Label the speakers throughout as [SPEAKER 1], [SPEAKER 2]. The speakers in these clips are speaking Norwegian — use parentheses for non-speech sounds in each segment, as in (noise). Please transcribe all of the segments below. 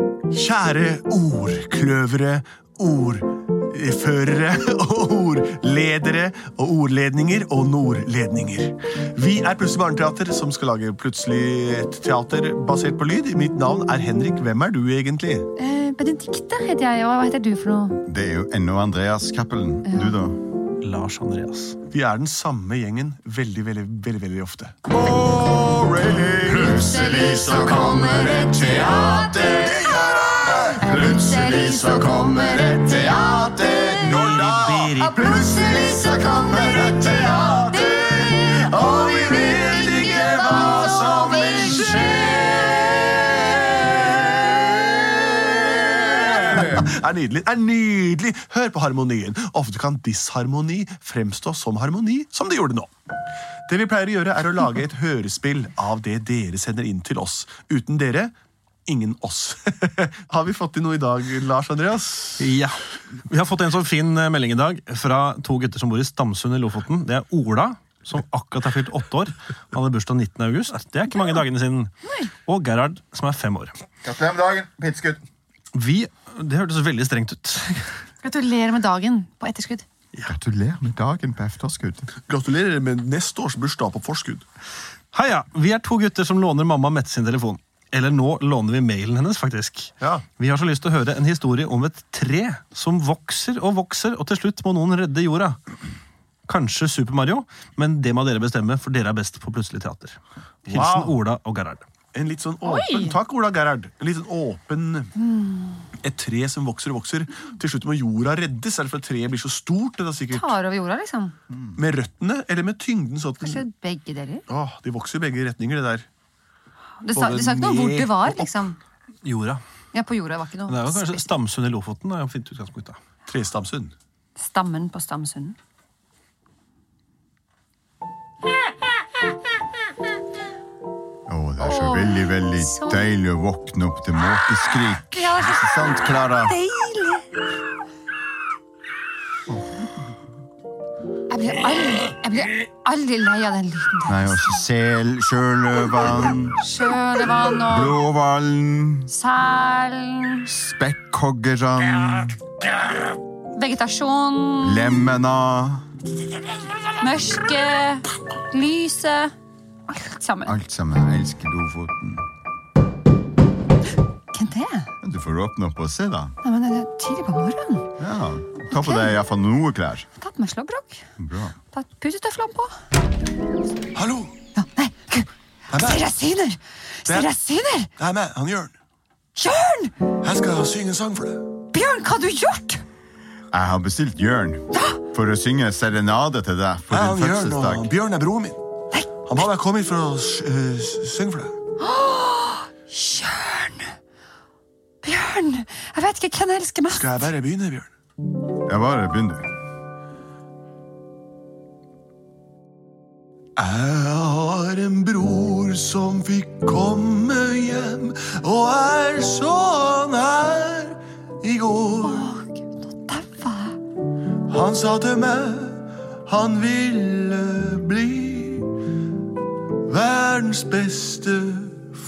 [SPEAKER 1] Kjære ordkløvere, ordførere (laughs) og ordledere og ordledninger og nordledninger. Vi er Plutselig barneteater, som skal lage plutselig et teater basert på lyd. Mitt navn er Henrik. Hvem er du egentlig?
[SPEAKER 2] Eh, Benedicte heter jeg, og hva heter du for noe?
[SPEAKER 3] Det er jo ennå Andreas Cappelen. Du, da?
[SPEAKER 4] Lars Andreas.
[SPEAKER 1] Vi er den samme gjengen veldig, veldig, veldig, veldig ofte.
[SPEAKER 3] Plutselig så kommer et teater. Plutselig så kommer et teater. Nå da. Plutselig så kommer et teater. Og vi vet ikke hva som vil skje.
[SPEAKER 1] er nydelig. er nydelig. Hør på harmonien. Ofte kan disharmoni fremstå som harmoni, som det gjorde nå. Det vi pleier å gjøre, er å lage et hørespill av det dere sender inn til oss. Uten dere ingen oss. (laughs) Har vi fått inn noe i dag, Lars Andreas?
[SPEAKER 4] Ja. Vi har fått en sånn fin eh, melding i dag fra to gutter som bor i Stamsund i Lofoten. Det er Ola, som akkurat har fylt åtte år. Han hadde bursdag 19. august. Det er ikke mange dagene siden. Og Gerhard, som er fem år.
[SPEAKER 3] Gratulerer med dagen, pinnekutt.
[SPEAKER 4] Vi, Det hørtes veldig strengt ut.
[SPEAKER 2] Gratulerer med dagen på etterskudd.
[SPEAKER 3] Gratulerer med dagen på efterskudd.
[SPEAKER 1] Gratulerer med neste års bursdag på forskudd.
[SPEAKER 4] Heia! Vi er to gutter som låner mamma Mette sin telefon. Eller nå låner vi mailen hennes, faktisk.
[SPEAKER 1] Ja.
[SPEAKER 4] Vi har så lyst til å høre en historie om et tre som vokser og vokser, og til slutt må noen redde jorda. Kanskje Super Mario, men det må dere bestemme, for dere er best på Plutselig teater. Hilsen
[SPEAKER 1] Wow.
[SPEAKER 4] Ola og Gerhard.
[SPEAKER 1] En litt sånn åpen
[SPEAKER 2] Oi!
[SPEAKER 1] Takk, Ola Gerhard. En litt sånn åpen Et tre som vokser og vokser. Til slutt må jorda reddes. Er det fordi treet blir så stort? Det er sikkert
[SPEAKER 2] Tar over jorda, liksom.
[SPEAKER 1] Med røttene eller med tyngden? Sånn at den-
[SPEAKER 2] Kanskje begge deler.
[SPEAKER 1] Åh, Ah, de vokser i begge retninger, det der.
[SPEAKER 2] Du sa, du sa ikke noe om hvor du var, liksom.
[SPEAKER 4] Jorda.
[SPEAKER 2] Ja, på jorda var ikke
[SPEAKER 4] Men det er jo kanskje
[SPEAKER 2] noe.
[SPEAKER 4] Stamsund i Lofoten. Det er jo fint utgangspunkt da.
[SPEAKER 1] Trestamsund.
[SPEAKER 2] Stammen på Stamsunden.
[SPEAKER 3] Å, det er så veldig, veldig
[SPEAKER 2] så-
[SPEAKER 3] deilig å våkne opp til måkeskrik.
[SPEAKER 2] Ja, det er
[SPEAKER 3] Ikke sant, Klara?
[SPEAKER 2] Jeg blir aldri, jeg blir aldri lei av den lyden der.
[SPEAKER 3] Nei, også sel, sjøløveren,
[SPEAKER 2] Sjølevann og
[SPEAKER 3] blåhvalen,
[SPEAKER 2] selen,
[SPEAKER 3] spekkhoggeren,
[SPEAKER 2] vegetasjon,
[SPEAKER 3] lemmena
[SPEAKER 2] mørket, lyset. Alt sammen.
[SPEAKER 3] Alt sammen. Jeg elsker Lofoten.
[SPEAKER 2] Hvem det er?
[SPEAKER 3] Men Du får åpne opp og se, da.
[SPEAKER 2] Nei, men det er tidlig på morgenen.
[SPEAKER 3] Ja, Ta på deg iallfall noe klær.
[SPEAKER 2] Jeg har tatt meg slåbrok.
[SPEAKER 3] Bra.
[SPEAKER 2] Tatt pusetøflene på.
[SPEAKER 1] Hallo!
[SPEAKER 2] Ja, nei, gud.
[SPEAKER 1] Det er meg.
[SPEAKER 2] Sarasiner! Sarasiner!
[SPEAKER 1] Det er meg, han Jørn.
[SPEAKER 2] Jørn!
[SPEAKER 1] Jeg skal synge en sang for deg.
[SPEAKER 2] Bjørn, hva har du gjort?
[SPEAKER 3] Jeg har bestilt Jørn for å synge serenade til deg på
[SPEAKER 1] Jeg er
[SPEAKER 3] din
[SPEAKER 1] han Jørn, og
[SPEAKER 3] fødselsdag.
[SPEAKER 1] Bjørn er broren min. Han ba meg komme hit for å s- eh, s- synge for deg.
[SPEAKER 2] Bjørn! Bjørn! Jeg vet ikke hvem jeg elsker mest.
[SPEAKER 1] Skal jeg bare begynne, Bjørn?
[SPEAKER 3] Jeg bare begynner.
[SPEAKER 1] Jeg har en bror som fikk komme hjem, og er så han er i går.
[SPEAKER 2] Å, Gud, nå daua jeg.
[SPEAKER 1] Han sa til meg han ville bli verdens beste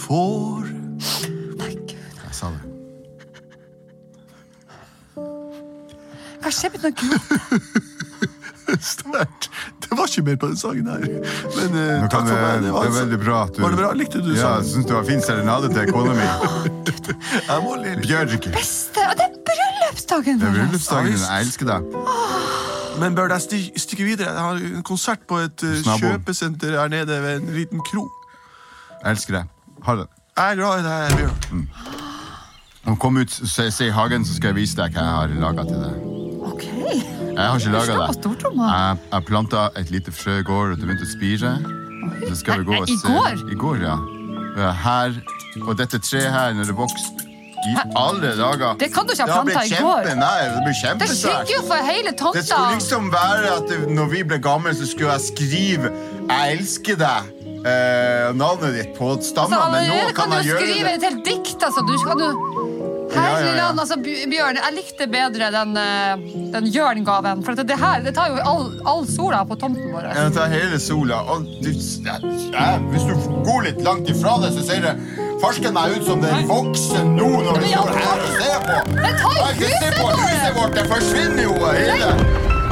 [SPEAKER 1] får.
[SPEAKER 2] Nei, gud.
[SPEAKER 3] Jeg sa det.
[SPEAKER 2] Kanskje jeg begynner å gråte.
[SPEAKER 1] Sterkt. Det var ikke mer på den sangen her. Men eh,
[SPEAKER 3] Nå
[SPEAKER 1] takk
[SPEAKER 3] kan
[SPEAKER 1] for meg.
[SPEAKER 3] jeg-
[SPEAKER 1] Det
[SPEAKER 3] det
[SPEAKER 1] var,
[SPEAKER 3] er veldig bra at du
[SPEAKER 1] Var det bra? Likte du sånn?
[SPEAKER 3] Ja, jeg
[SPEAKER 1] sangen?
[SPEAKER 3] syns det var fin serenade til kona
[SPEAKER 1] (laughs)
[SPEAKER 3] mi.
[SPEAKER 1] Jeg må le litt.
[SPEAKER 3] Bjørg.
[SPEAKER 2] Beste Og det er bryllupsdagen
[SPEAKER 3] Det er
[SPEAKER 2] vår!
[SPEAKER 3] bryllupsdagen din. Jeg elsker deg.
[SPEAKER 1] Men bør jeg sti stikke videre? Jeg har en konsert på et eh,
[SPEAKER 3] Naboen.
[SPEAKER 1] kjøpesenter her nede ved en liten kro.
[SPEAKER 3] Jeg elsker deg. Ha det.
[SPEAKER 1] Jeg er glad i deg, Bjørn.
[SPEAKER 3] Og Kom ut se, se i hagen, så skal jeg vise deg hva jeg har laga til deg.
[SPEAKER 2] Ok.
[SPEAKER 3] Jeg har ikke laga
[SPEAKER 2] Slå på
[SPEAKER 3] det.
[SPEAKER 2] stortromma.
[SPEAKER 3] Jeg, jeg planta et lite frø i går, og det begynte å spire. Så skal vi gå
[SPEAKER 2] Nei, nei,
[SPEAKER 3] og
[SPEAKER 2] i
[SPEAKER 3] se.
[SPEAKER 2] går?
[SPEAKER 3] I går, ja. Ja, Her, og dette treet her, når det vokste i alle dager
[SPEAKER 2] Det kan du ikke ha
[SPEAKER 3] Det ble
[SPEAKER 2] plantet i går.
[SPEAKER 3] kjempe- Nei, det ble
[SPEAKER 2] Det skygger
[SPEAKER 3] kjempesvært.
[SPEAKER 2] jo for hele
[SPEAKER 3] Det
[SPEAKER 2] tomta!
[SPEAKER 3] skulle liksom være at det, når vi ble gamle, så skulle jeg skrive 'Jeg elsker deg' eh, navnet ditt på
[SPEAKER 2] Så
[SPEAKER 3] stammen, men nå
[SPEAKER 2] allerede Altså,
[SPEAKER 3] kan
[SPEAKER 2] kan du
[SPEAKER 3] jeg
[SPEAKER 2] jo
[SPEAKER 3] gjøre
[SPEAKER 2] skrive
[SPEAKER 3] det.
[SPEAKER 2] et helt dikt, altså. Du kan jo Herligland, altså Bj- Bjørn, jeg likte bedre den, eh, den Jørn-gaven. For at det her det tar jo all, all sola på tomten vår.
[SPEAKER 3] Jeg tar hele sola, og du, ja, hvis du går litt langt ifra det, så ser det farsken meg ut som det vokser nå når vi står her og ser på.
[SPEAKER 2] Men ta i
[SPEAKER 3] Jeg kan se
[SPEAKER 2] huset
[SPEAKER 3] på
[SPEAKER 2] vårt!
[SPEAKER 3] huset vårt, det forsvinner jo hele.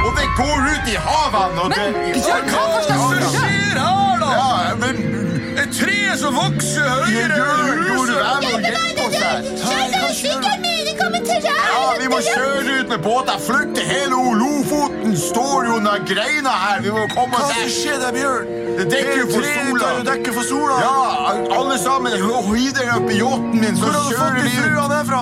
[SPEAKER 3] Og det går ut i havene, og det...
[SPEAKER 2] Men Bjørn, hva for slags
[SPEAKER 3] Ja,
[SPEAKER 2] sola?
[SPEAKER 1] skjer her, da?
[SPEAKER 3] Ja, men...
[SPEAKER 1] Et tre som vokser
[SPEAKER 3] Gjør
[SPEAKER 1] høyere enn
[SPEAKER 3] du
[SPEAKER 1] huset!
[SPEAKER 3] det med å hjelpe oss her? Ja, vi må kjøre ut med båt. Jeg flytter hele Lofoten. Står jo under greina her. Vi må komme oss her.
[SPEAKER 1] skjer der, Bjørn?
[SPEAKER 3] Det dekker jo for
[SPEAKER 1] Treet
[SPEAKER 3] sola.
[SPEAKER 1] tar jo dekke for sola.
[SPEAKER 3] Ja, alle sammen. Hiv dere opp i yachten min, så
[SPEAKER 1] Hvor har du
[SPEAKER 3] kjører
[SPEAKER 1] fått de
[SPEAKER 3] vi ut.
[SPEAKER 1] frøa derfra?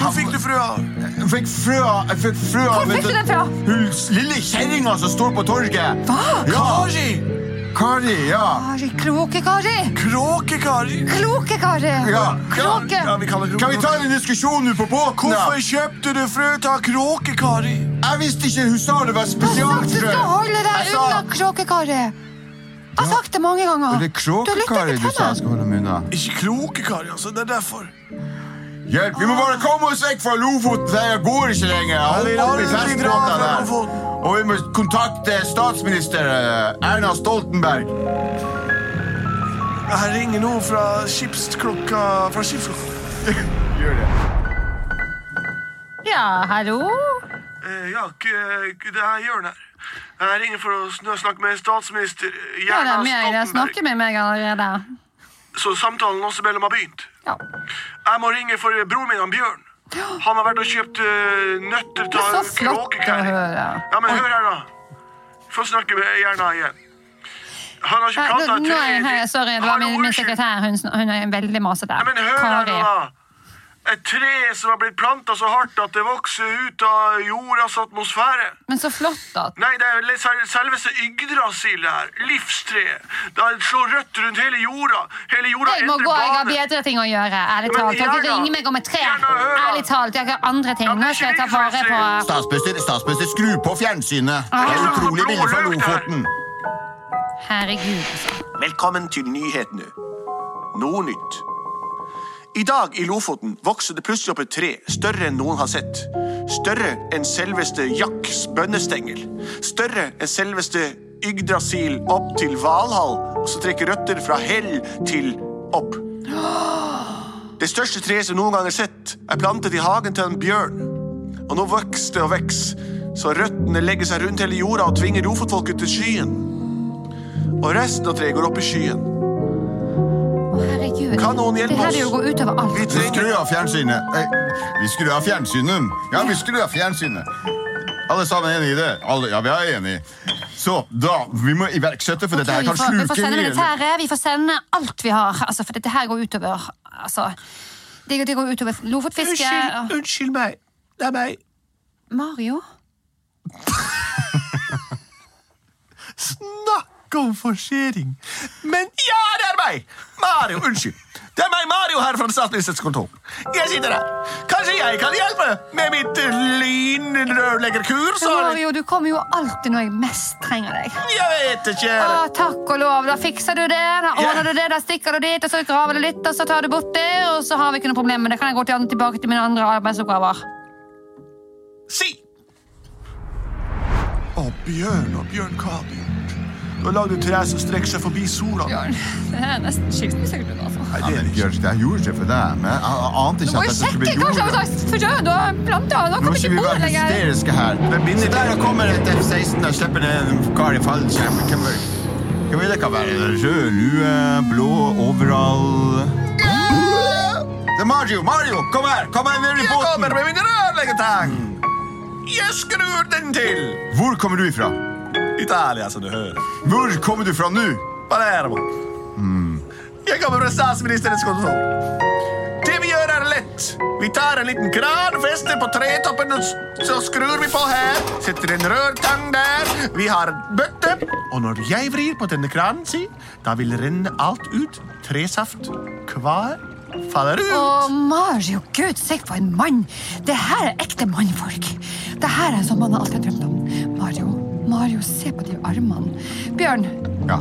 [SPEAKER 1] Hvor fikk du frøa?
[SPEAKER 3] Jeg fikk frøa. Jeg fikk frøa.
[SPEAKER 2] Hvor
[SPEAKER 3] vet
[SPEAKER 2] fikk du den fra?
[SPEAKER 3] Hun s- lille kjerringa som står på torget.
[SPEAKER 2] Hva?
[SPEAKER 3] Ja,
[SPEAKER 1] Kari!
[SPEAKER 3] Kari, ja.
[SPEAKER 2] Kari, kloke Kari!
[SPEAKER 1] Kråke-Kari!
[SPEAKER 2] Kloke Kari!
[SPEAKER 3] Ja.
[SPEAKER 2] Kloke!
[SPEAKER 1] Ja, vi kaller det
[SPEAKER 3] Kan vi ta en diskusjon nå på båten? da?
[SPEAKER 1] Hvorfor kjøpte du frø av kråke, Kari?
[SPEAKER 3] Jeg visste ikke hun sa det
[SPEAKER 2] Jeg har
[SPEAKER 3] var
[SPEAKER 2] sagt du
[SPEAKER 3] spesialfrø.
[SPEAKER 2] skal holde
[SPEAKER 3] Jeg
[SPEAKER 2] deg
[SPEAKER 3] sa-
[SPEAKER 2] unna Kråke Kari. Jeg har sagt det mange ganger.
[SPEAKER 3] Det er
[SPEAKER 2] Du lytter
[SPEAKER 3] kråkekari
[SPEAKER 2] ikke
[SPEAKER 3] du
[SPEAKER 2] til
[SPEAKER 3] sa jeg
[SPEAKER 2] meg.
[SPEAKER 3] skal holde meg unna.
[SPEAKER 1] Ikke kloke, Kari, altså. Det er derfor.
[SPEAKER 3] Hjelp, vi må bare komme oss vekk fra Lofoten. Det her går ikke lenger.
[SPEAKER 1] vi
[SPEAKER 3] Jeg holder
[SPEAKER 1] lar
[SPEAKER 3] opp i
[SPEAKER 1] oss ikke dra
[SPEAKER 3] festbåtene.
[SPEAKER 1] fra Lofoten.
[SPEAKER 3] Og vi må kontakte statsminister eh, Erna Stoltenberg.
[SPEAKER 1] Jeg ringer nå fra skipsklokka fra skipsklokka.
[SPEAKER 3] Gjør det.
[SPEAKER 2] Ja, hallo?
[SPEAKER 1] Eh, ja, k- eh, det er Jørn her. Jeg ringer for å sn- snakke med statsminister eh,
[SPEAKER 2] Ja, det
[SPEAKER 1] Jerna
[SPEAKER 2] er meg. Jeg
[SPEAKER 1] Stoltenberg.
[SPEAKER 2] snakker med meg allerede.
[SPEAKER 1] Så samtalen oss imellom har begynt.
[SPEAKER 2] Ja.
[SPEAKER 1] Jeg må ringe for eh, broren min, han Bjørn. Han har vært og kjøpt eh, nøtter
[SPEAKER 2] Det er
[SPEAKER 1] av
[SPEAKER 2] så flott å høre.
[SPEAKER 1] Ja, men hør her, da. Få snakke med Jerna igjen. Han har ikke
[SPEAKER 2] Ja,
[SPEAKER 1] planta
[SPEAKER 2] nå- nå er jeg her. Sorry, det var
[SPEAKER 1] Hallo,
[SPEAKER 2] min, min
[SPEAKER 1] unnskyld.
[SPEAKER 2] sekretær. Hun, sn- hun er veldig masete.
[SPEAKER 1] Ja, men hør her nå, da. Et tre som har blitt planta så hardt at det vokser ut av jordas atmosfære.
[SPEAKER 2] Men så flott at
[SPEAKER 1] Nei, det er vel sel- selveste Yggdrasil, det her. Livstreet. Det er- slår rødt rundt hele jorda. Hele jorda
[SPEAKER 2] jeg må
[SPEAKER 1] endrer
[SPEAKER 2] gå, jeg har
[SPEAKER 1] bane.
[SPEAKER 2] bedre ting å gjøre. Ærlig
[SPEAKER 1] Men
[SPEAKER 2] talt. Dere
[SPEAKER 1] gjør da.
[SPEAKER 2] ringer meg om et tre.
[SPEAKER 1] Gjør da, hør da.
[SPEAKER 2] Ærlig talt, jeg har andre ting.
[SPEAKER 1] Ja, men
[SPEAKER 2] Nå skal jeg ta vare på
[SPEAKER 3] Statsminister, statsminister, skru på fjernsynet.
[SPEAKER 2] Ah.
[SPEAKER 3] Det er utrolig bilde fra Lofoten.
[SPEAKER 2] Herregud, altså.
[SPEAKER 4] Velkommen til nyhetene. Noe nytt. I dag i Lofoten vokser det plutselig opp et tre større enn noen har sett. Større enn selveste Jacks bønnestengel. Større enn selveste Yggdrasil opp til Valhall, og så trekker røtter fra hell til opp. Det største treet som noen gang er sett, er plantet i hagen til en bjørn. Og nå vokser det og vokser, så røttene legger seg rundt hele jorda og tvinger lofotfolket til skyen. Og resten av treet går opp i skyen.
[SPEAKER 2] Å, herregud.
[SPEAKER 4] Kan noen hjelpe
[SPEAKER 2] det her vil jo
[SPEAKER 4] oss?
[SPEAKER 2] gå utover
[SPEAKER 4] Vi
[SPEAKER 2] alt.
[SPEAKER 3] Vi
[SPEAKER 4] trenger
[SPEAKER 3] skrur av fjernsynet. Nei, vi skrur av fjernsynet. Ja, vi skrur av fjernsynet. Alle sammen er enige i det? Alle, ja, vi er enige. Så, da, vi må iverksette, for dette her
[SPEAKER 2] Vi
[SPEAKER 3] kan
[SPEAKER 2] får, vi får
[SPEAKER 3] sluke
[SPEAKER 2] sende
[SPEAKER 3] hele
[SPEAKER 2] militæret, vi får sende alt vi har. Altså, for dette her går utover altså, det, det går utover lofotfiske
[SPEAKER 4] Unnskyld,
[SPEAKER 2] og-
[SPEAKER 4] unnskyld meg. Det er meg.
[SPEAKER 2] Mario?
[SPEAKER 4] Snakk om forsering. Men ja, det er meg! Mario, unnskyld. Det er meg, Mario, her fra Statsministerens kontor. Jeg sitter her. Kanskje jeg kan hjelpe med mitt eh, lynrørleggerkurs? og-
[SPEAKER 2] Mario, du kommer jo alltid når jeg mest trenger deg.
[SPEAKER 4] Jeg vet ikke.
[SPEAKER 2] Å, takk og lov, da fikser du det, da ordner du det, da stikker du dit, og så graver du litt, og så tar du bort det, og så har vi ikke noe problem med det. Kan jeg gå til, tilbake til mine andre arbeidsoppgaver?
[SPEAKER 4] Si.
[SPEAKER 1] Å, Bjørn og Bjørn, hva har du gjort? Du har lagd et tre som strekker seg forbi sola.
[SPEAKER 2] Bjørn, det her er nesten skilsmissegrunn, altså.
[SPEAKER 3] Ja, men Bjørn, det her gjorde ikke for deg, men jeg jeg ante
[SPEAKER 2] Du
[SPEAKER 3] ikke
[SPEAKER 2] må jo
[SPEAKER 3] at dette skulle bli
[SPEAKER 2] sjekke hva
[SPEAKER 3] jorda.
[SPEAKER 2] slags forkjønn du har planta, nå
[SPEAKER 3] Nå
[SPEAKER 2] kommer
[SPEAKER 3] skal
[SPEAKER 2] ikke
[SPEAKER 3] vi være
[SPEAKER 2] bordet lenger.
[SPEAKER 3] hysteriske her. Se der nå kommer et F-16 og slipper ned en kar i fallskjerm. Hvem er- Hvem er det kan være? Rød lue, blå overall Det er Mario! Mario, kom her! Kom her ned i
[SPEAKER 4] Jeg
[SPEAKER 3] båten!
[SPEAKER 4] kommer med min rørleggertang. Jeg skrur den til.
[SPEAKER 3] Hvor kommer du ifra?
[SPEAKER 4] Italia, som du hører.
[SPEAKER 3] Hvor kommer du fra nå?
[SPEAKER 4] Palermo. Mm. Jeg kommer fra statsministerens kontor. Det vi gjør, er lett. Vi tar en liten kran, fester på tretoppen, og s- så skrur vi på her. Setter en rørtang der. Vi har en bøtte. Og når jeg vrir på denne kranen, si, da vil renne alt ut. Tresaft hver faller ut.
[SPEAKER 2] Å, Mario, gud, se for en mann. Det her er ekte mannfolk. Det her er en sånn man alltid har drømt om. Mario, Mario, se på de armene. Bjørn,
[SPEAKER 3] Ja,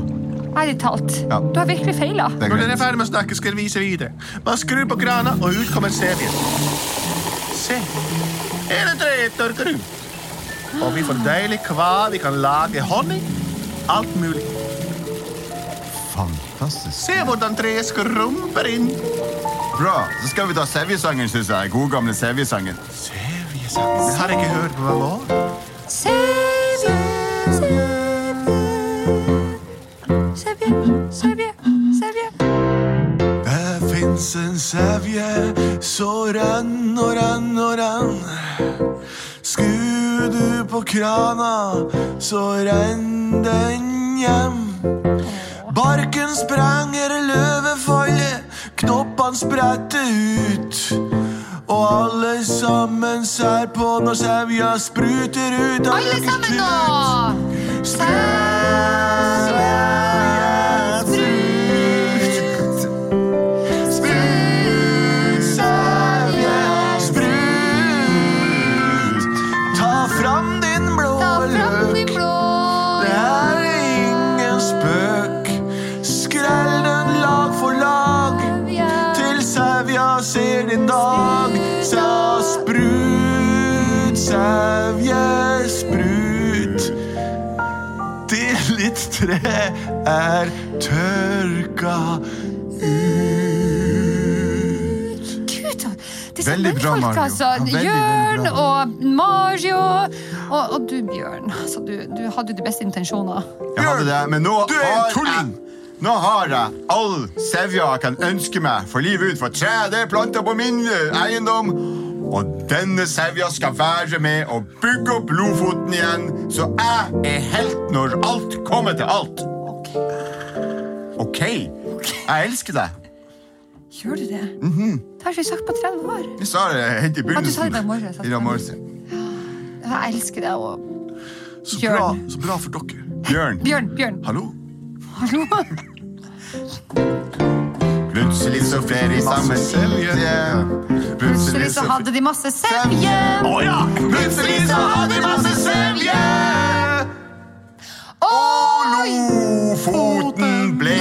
[SPEAKER 2] ærlig talt,
[SPEAKER 3] Ja.
[SPEAKER 2] du har virkelig feila.
[SPEAKER 3] det er
[SPEAKER 4] Når dere
[SPEAKER 3] greit.
[SPEAKER 4] er ferdig med å snakke, skal jeg vise videre. Man skrur på krana, og ut kommer serien.
[SPEAKER 5] se. Hele treet tørker ut. Og vi får deilig kva, vi kan lage honning. Alt mulig.
[SPEAKER 3] Fantastisk.
[SPEAKER 5] Se hvordan treet skrumper inn.
[SPEAKER 3] Bra. Så skal vi ta Sevjesangen, syns jeg. God gamle Sevjesangen.
[SPEAKER 5] Det har jeg ikke hørt på hva var.
[SPEAKER 1] Det fins en sevje så rann og rann og rann. Skur du på krana, så renn den hjem. Barken sprenger løvefoldet, knoppene spretter ut. Og alle sammen ser på når sevja spruter ut. av
[SPEAKER 2] Alle sammen nå!
[SPEAKER 1] Ta fram din blå
[SPEAKER 2] Ta fram
[SPEAKER 1] løk.
[SPEAKER 2] din blå
[SPEAKER 1] Det er ingen spøk. Skrell den lag for lag til sevja ser din dag. Sa sprut, sevje, sprut. Ditt tre er tørka ut.
[SPEAKER 2] Gud, disse
[SPEAKER 3] Veldig bra,
[SPEAKER 2] mannfolka,
[SPEAKER 3] Mario.
[SPEAKER 2] altså.
[SPEAKER 3] Ja, veldig,
[SPEAKER 2] Jørn
[SPEAKER 3] veldig bra.
[SPEAKER 2] og Mario. Og, og du, Bjørn. Altså, du, du hadde jo de beste intensjoner.
[SPEAKER 3] Jeg hadde det, men nå
[SPEAKER 5] Du er en
[SPEAKER 3] har jeg
[SPEAKER 5] tulling!
[SPEAKER 3] nå har jeg all sevja jeg kan ønske meg for livet ut, for treet det er planta på min eh, eiendom. Og denne sevja skal være med å bygge opp Lofoten igjen, så jeg er helt når alt kommer til alt.
[SPEAKER 2] Ok,
[SPEAKER 3] OK? Jeg elsker deg.
[SPEAKER 2] Gjør du det?
[SPEAKER 3] Mhm.
[SPEAKER 2] Det har jeg ikke sagt på 30 år.
[SPEAKER 3] Jeg sa det helt i
[SPEAKER 2] du sa det
[SPEAKER 3] begynnelsen.
[SPEAKER 2] i dag morges, altså.
[SPEAKER 3] I dag morges.
[SPEAKER 2] Jeg elsker deg og
[SPEAKER 1] Så bra,
[SPEAKER 2] Bjørn.
[SPEAKER 1] så bra for dere.
[SPEAKER 3] Bjørn.
[SPEAKER 2] Bjørn, Bjørn.
[SPEAKER 1] Hallo?
[SPEAKER 2] Hallo?
[SPEAKER 3] Plutselig så flere i samme selje.
[SPEAKER 2] Plutselig så hadde de masse sevje.
[SPEAKER 3] Å ja! Plutselig så hadde de masse selje.
[SPEAKER 2] Og
[SPEAKER 3] Lofoten ble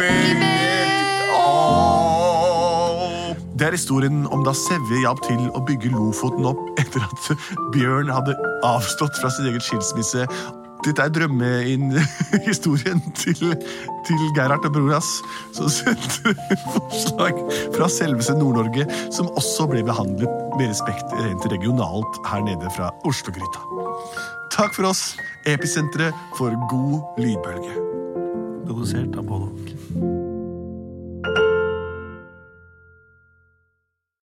[SPEAKER 3] bygget opp.
[SPEAKER 1] Det er historien om da Sevje hjalp til å bygge Lofoten opp etter at Bjørn hadde avstått fra sin egen skilsmisse. Dette er drømmehistorien til, til Gerhard og bror hans, som sendte forslag fra selveste Nord-Norge, som også ble behandlet med respekt rent regionalt her nede fra Oslo-gryta. Takk for oss, Episenteret for god lydbølge.
[SPEAKER 4] Produsert av både og.